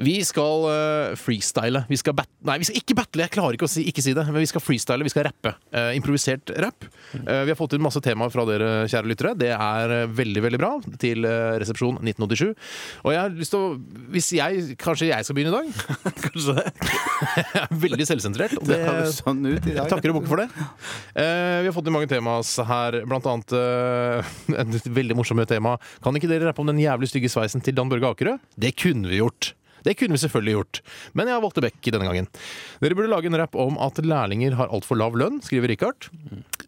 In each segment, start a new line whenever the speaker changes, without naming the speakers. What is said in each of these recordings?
Vi skal eh, freestyle. Vi skal bat Nei, vi skal ikke battle, jeg klarer ikke å si, ikke si det. Men vi skal freestyle, vi skal rappe. Eh, improvisert rapp. Eh, vi har fått inn masse temaer fra dere, kjære lyttere. Det er eh, veldig, veldig bra. Til eh, Resepsjon 1987. Og jeg har lyst til å Hvis jeg Kanskje jeg skal begynne i dag?
Kanskje det.
Jeg er veldig selvsentrert. Og
Det høres sånn ut i dag.
Takker og bukker for det. Eh, vi har fått inn mange temas her, blant annet eh, et veldig morsomt tema. Kan ikke dere rappe om den jævlig stygge sveisen til Dan Børge Akerø? Det kunne vi gjort. Det kunne vi selvfølgelig gjort, men jeg har valgt det vekk denne gangen. Dere burde lage en rapp om at lærlinger har altfor lav lønn, skriver Richard.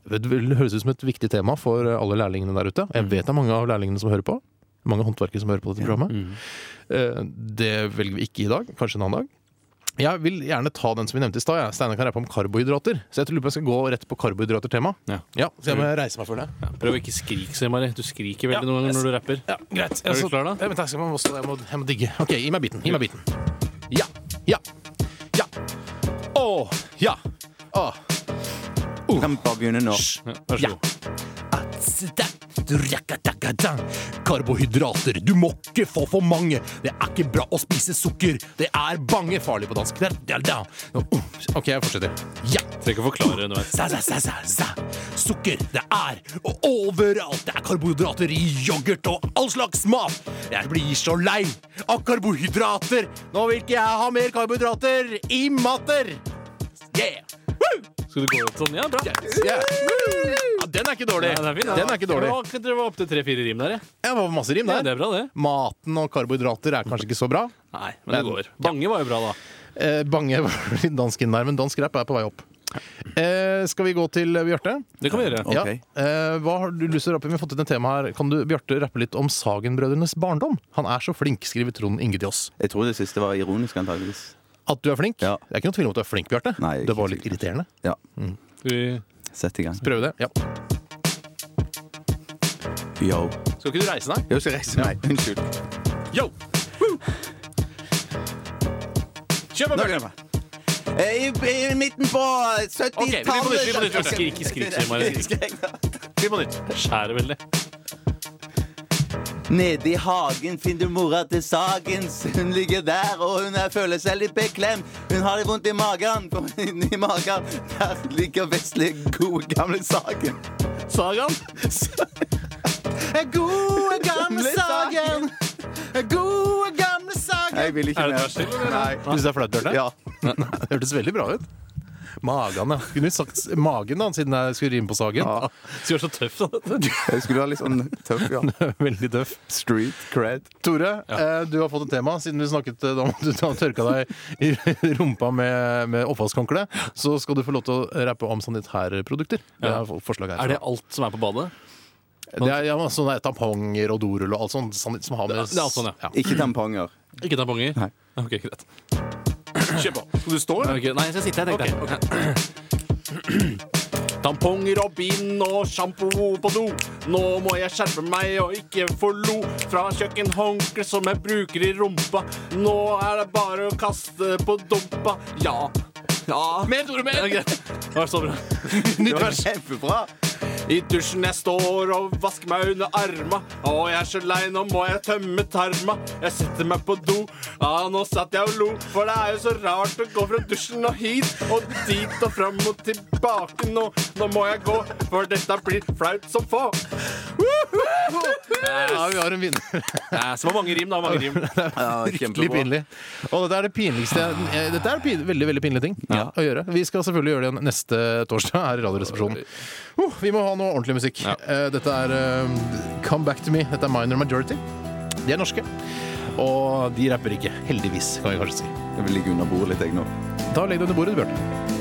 Det vil- høres ut som et viktig tema for eh, alle lærlingene der ute. Jeg vet det er mange av lærlingene som hører på. Mange håndverkere som hører på dette programmet.
Mm.
Eh, Det velger vi ikke i dag, kanskje en annen dag. Jeg vil gjerne ta den som vi nevnte i stad. jeg. Steinar kan rappe om karbohydrater. Så jeg tror jeg skal gå rett på karbohydrater-tema.
Ja.
så jeg må reise meg for det.
Ja, prøv å ikke skrike så innmari. Du skriker veldig
Ja,
noen
jeg-
ganger når du rapper.
Ja, greit.
Er du klar da?
Ja, men takk skal man også, jeg, må, jeg må digge. Ok, gi meg biten. Gi meg biten. Ja. Ja. Ja. Å. Ja. Å.
Kan vi bare begynne nå?
Ja, vær så
Ja.
god.
Atsda, drakadakada. Karbohydrater, du må ikke få for mange. Det er ikke bra å spise sukker. Det er bange farlig på dansk. Der, der, der. Uh, OK, jeg fortsetter. Ja.
Trenger ikke å forklare underveis.
Sa, sa, sa, sa, sa. Sukker, det er og overalt. Det er karbohydrater i yoghurt og all slags mat. Jeg blir så lei av karbohydrater. Nå vil ikke jeg ha mer karbohydrater i mater. Yeah! Woo!
Skal du gå opp sånn? Ja, bra. Ja,
Yeah. Ja, den er ikke dårlig.
den er fin.
Den er ikke dårlig.
Jeg var opp til tre-fire rim der, jeg.
Jeg var på masse rim
Ja,
der.
det er bra, det.
Maten og karbohydrater er kanskje ikke så bra.
Nei, men det
Men-
går. Bange var jo bra, da.
Eh, bange var litt dansk inn der, men dansk rap er på vei opp. Eh, skal vi gå til Bjarte?
Det kan vi gjøre.
Ok.
Ja. Eh, hva har du lyst til å rappe? Vi har fått inn et tema her. Kan du, Bjarte, rappe litt om Sagen-brødrenes barndom? Han er så flink, skriver Trond Inge til oss.
Jeg tror det siste var ironisk, antageligvis.
At du er flink?
Ja.
Det er ikke noe tvil om at du er flink, Bjarte.
Nei, jeg er
Det var
ikke
litt irriterende.
Ja,
Skal, vi...
sett i gang.
Prøve det. Ja.
Yo.
skal ikke du reise deg?
Jeg skal reise meg. Unnskyld.
Yo! Woo! Kjør
Nå
på, Bjørn.
glemmer jeg. Eh, I, I midten på
Ok, vi
70-tallet
begynner på nytt, vi begynner på nytt. Skrik, skrik, skrik, Marit.
Vi på nytt.
Skjærer veldig.
Nede i hagen finner du mora til Sagens. Hun ligger der, og hun er, føler seg litt beklem. Hun har litt vondt i magen, for inni magen der ligger vesle, gode, gamle Sagen.
Sagaen.
Gode, gamle
Gamle
Sagen! Gode, gamle Sagen!
Jeg vil ikke
Er det
mer.
tvers til, eller?
Nei.
Syns du det er flaut, Bjarte?
Ja.
Det hørtes veldig bra ut. Magen, ja. Kunne du sagt magen, da, siden jeg skulle rime på Sagen?
Ja.
Skal være så tøff, da. dette.
Jeg skulle være litt sånn tøff, ja.
Veldig tøff.
Street cred.
Tore, eh, du har fått et tema. Siden vi snakket eh, om at du har tørka deg i rumpa med, med oppvaskhåndkle, så skal du få lov til å rappe om sanitærprodukter. Det
Ja.
er forslaget
Er
her.
det alt som er på badet?
det er, ja, sånne tamponger og dorull og alt sånt sanit- som har med
Det er alt sånn, ja.
Ikke tamponger.
Ikke tamponger? Ah,
Nei.
Ok, greit. Kjør på. Skal du stå, eller? Nei, jeg skal sitte her, tenkte jeg. Tamponger og bind og sjampo på do. Nå må jeg skjerpe meg og ikke få lo. Fra kjøkkenhåndkle som jeg bruker i rumpa. Nå er det bare å kaste på dumpa. Ja. Ja. Mer, Tore, mer! Det var så bra.
Det var kjempebra.
I dusjen jeg står og vasker meg under arma. Å, jeg er så lei, nå må jeg tømme tarma. Jeg setter meg på do. Ja, nå satt jeg og lo, for det er jo så rart å gå fra dusjen og hit og dit og fram og tilbake nå. Nå må jeg gå, for dette blir flaut som få.
Ja, vi har en vinner.
Eh, Så var mange rim, da. Mange rim.
Ja,
Fryktelig pinlig. Og dette er det pinligste eh, Dette er pin, veldig veldig pinlig ting å gjøre. Vi skal selvfølgelig gjøre det igjen neste torsdag her i Radioresepsjonen. Oh, vi må ha noe ordentlig musikk. Eh, Dette er eh, Come Back To Me. Dette er Minor Majority. De er norske. Og de rapper ikke. Heldigvis, kan vi kanskje si.
Jeg vil ligge under bordet litt, jeg nå.
Da legg deg under bordet, Bjarte.